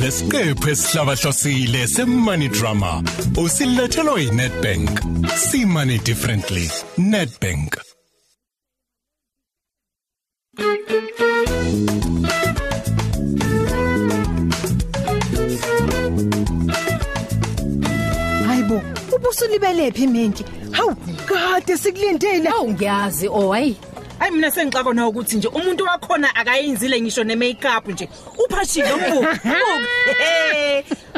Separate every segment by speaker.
Speaker 1: lesiqephu esihlabahlosile semoney drama usilethelwe yiNetbank see money differently Netbank
Speaker 2: Hayibo, ubusulibelephi menti? Hawu, kade sikulindele.
Speaker 3: Awu ngiyazi oh hayi
Speaker 4: hayi mina sengixabona ukuthi nje umuntu wakhona akayenzile ngisho ne-makeup nje uphashile umbuku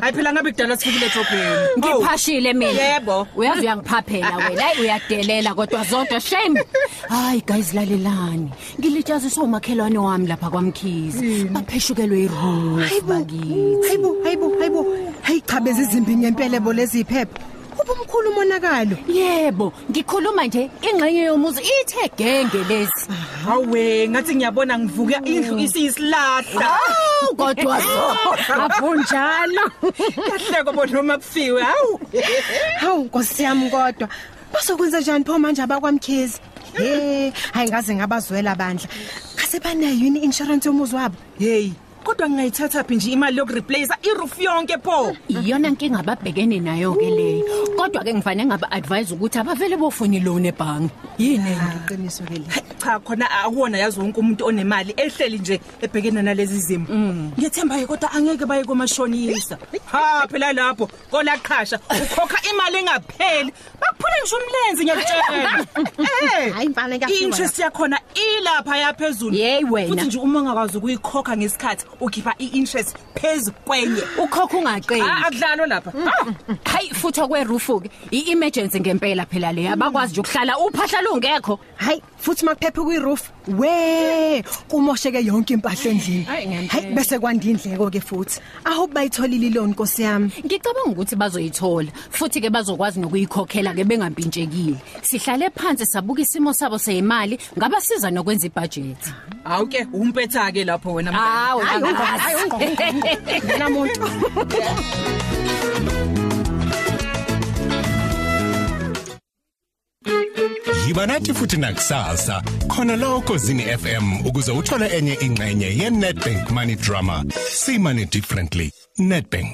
Speaker 4: hayi phela ngabe kudala sifukile edrobheni
Speaker 3: ngiphashile mina
Speaker 4: Yebo.
Speaker 3: uyazi uyangiphaphela wena hayi uyadelela kodwa zonke shame hayi guys lalelani ngilitshaziswa umakhelwane wami lapha kwamkhizi
Speaker 4: Hmm.
Speaker 3: bapheshukelwe iroof bakithi
Speaker 2: Hayibo, hayibo, hayibo. Hayi cha bezizimbi nyempelebo leziphepha. Ubumkhulu monakalo.
Speaker 3: yebo ngikhuluma nje ingxenye yomuzi ithe genge lezi
Speaker 4: hawe ngathi ngiyabona ngivuka indlu
Speaker 2: Mm.
Speaker 4: isiyisilahla
Speaker 3: awu kodwa abunjalo
Speaker 4: kahleko bona noma kufiwe hawu
Speaker 2: Hawu Nkosi yami kodwa. Bazokwenza njani pho manje abakwamkhezi? Hey, hayi ngaze ngabazwela bandla. Kase banayo yini insurance yomuzi wabo?
Speaker 4: heyi kodwa ngingayithatha phi nje imali yokureplace iroof yonke pho
Speaker 3: iyona inkinga ababhekene nayo ke leyo kodwa ke ngivane ngaba advise ukuthi abavele bofuna iloan ebhangi yini
Speaker 2: Ah, Iqiniso ke le.
Speaker 4: cha khona akuwona yazi wonke umuntu onemali ehleli nje ebhekene nalezi zimo ngiyethemba-ke kodwa angeke baye komashonisa ha phela lapho kolaqhasha ukhokha imali engapheli bakuphule ngisho umlenzi
Speaker 2: Hayi mfana
Speaker 4: ngiyakutshela
Speaker 2: kuyafika
Speaker 4: i-interest yakhona ilapha yaphezulu
Speaker 3: Yeyi wena.
Speaker 4: futhi nje uma ungakwazi ukuyikhokha ngesikhathi ukhipha i-interest phezu kwenye
Speaker 3: ukhokha ungaqini
Speaker 4: Ah, akudlalwa lapha Ah,
Speaker 3: hayi futhi okwerufu ke i-emergency ngempela phela le abakwazi nje ukuhlala uphahla lungekho
Speaker 2: Hayi futhi makuphephe kuyiroof we kumosheke yonke impahla endlini
Speaker 3: Hayi, ngempela.
Speaker 2: hayi bese kwandindleko ke futhi ahope bayitholile iloni Nkosi yami
Speaker 3: ngicabanga ukuthi bazoyithola futhi ke bazokwazi nokuyikhokhela ke bengampintshekile sihlale phansi sabuka isimo sabo seyimali ngabasiza nokwenza ibudget
Speaker 4: hawu ke umpetha-ke lapho wena mngani.
Speaker 3: hawo
Speaker 2: namuntu
Speaker 1: yiba nathi futhi nakusasa khona la ukozini FM ukuze uthole enye ingxenye yeNetbank Money Drama see money differently Netbank